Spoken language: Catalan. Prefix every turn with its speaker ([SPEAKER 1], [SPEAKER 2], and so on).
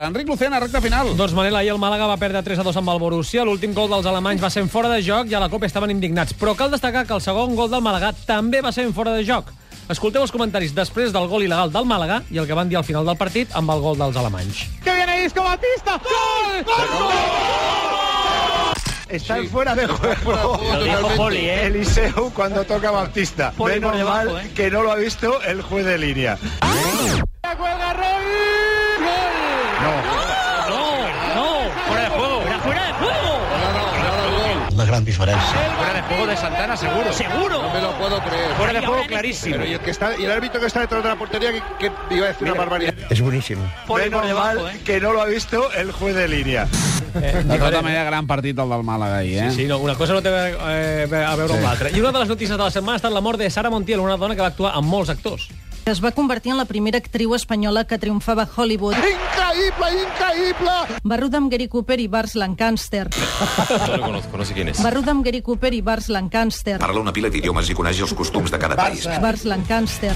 [SPEAKER 1] Enric Lucena, recta final.
[SPEAKER 2] Doncs Manel, ahir el Màlaga va perdre 3 a 2 amb el Borussia. L'últim gol dels alemanys va ser en fora de joc i a la Copa estaven indignats. Però cal destacar que el segon gol del Màlaga també va ser en fora de joc. Escolteu els comentaris després del gol il·legal del Màlaga i el que van dir al final del partit amb el gol dels alemanys.
[SPEAKER 3] que viene Isco Batista. ¡Gol! ¡Gol!
[SPEAKER 4] Está en fuera de juego. Eliseu cuando toca Bautista.
[SPEAKER 5] ¿eh? Poli
[SPEAKER 4] Menos
[SPEAKER 5] por debajo,
[SPEAKER 4] mal
[SPEAKER 5] ¿eh?
[SPEAKER 4] que no lo ha visto el juez de línea.
[SPEAKER 3] ¡La cuelga Rodri! ¡Gol!
[SPEAKER 5] Fuera de juego. Era fuera de juego.
[SPEAKER 6] La gran diferència.
[SPEAKER 5] Fuera de juego de Santana, seguro. Seguro.
[SPEAKER 1] No me lo puedo creer.
[SPEAKER 5] Fuera de juego clarísimo.
[SPEAKER 1] Pero y el, que está, y el árbitro que está detrás de la portería, que, que iba a decir una barbaridad.
[SPEAKER 6] És boníssim.
[SPEAKER 5] Poli por
[SPEAKER 4] Menos mal
[SPEAKER 5] debajo, ¿eh?
[SPEAKER 4] que no lo ha visto el juez de línea.
[SPEAKER 1] De tota manera, gran partit el del Màlaga ahir, eh?
[SPEAKER 2] Sí, no, una cosa no té eh, a veure amb l'altra. I una de les notícies de la setmana ha estat la mort de Sara Montiel, una dona que va actuar amb molts actors.
[SPEAKER 7] Es va convertir en la primera actriu espanyola que triomfava a Hollywood.
[SPEAKER 1] Increïble, increïble!
[SPEAKER 7] Va rodar amb Gary Cooper i Bars Lancaster.
[SPEAKER 8] No lo conozco, no sé quién es.
[SPEAKER 7] Va rodar amb Gary Cooper i Bars Lancaster.
[SPEAKER 9] Parla una pila d'idiomes i coneix els costums de cada país.
[SPEAKER 7] Bars Lancaster.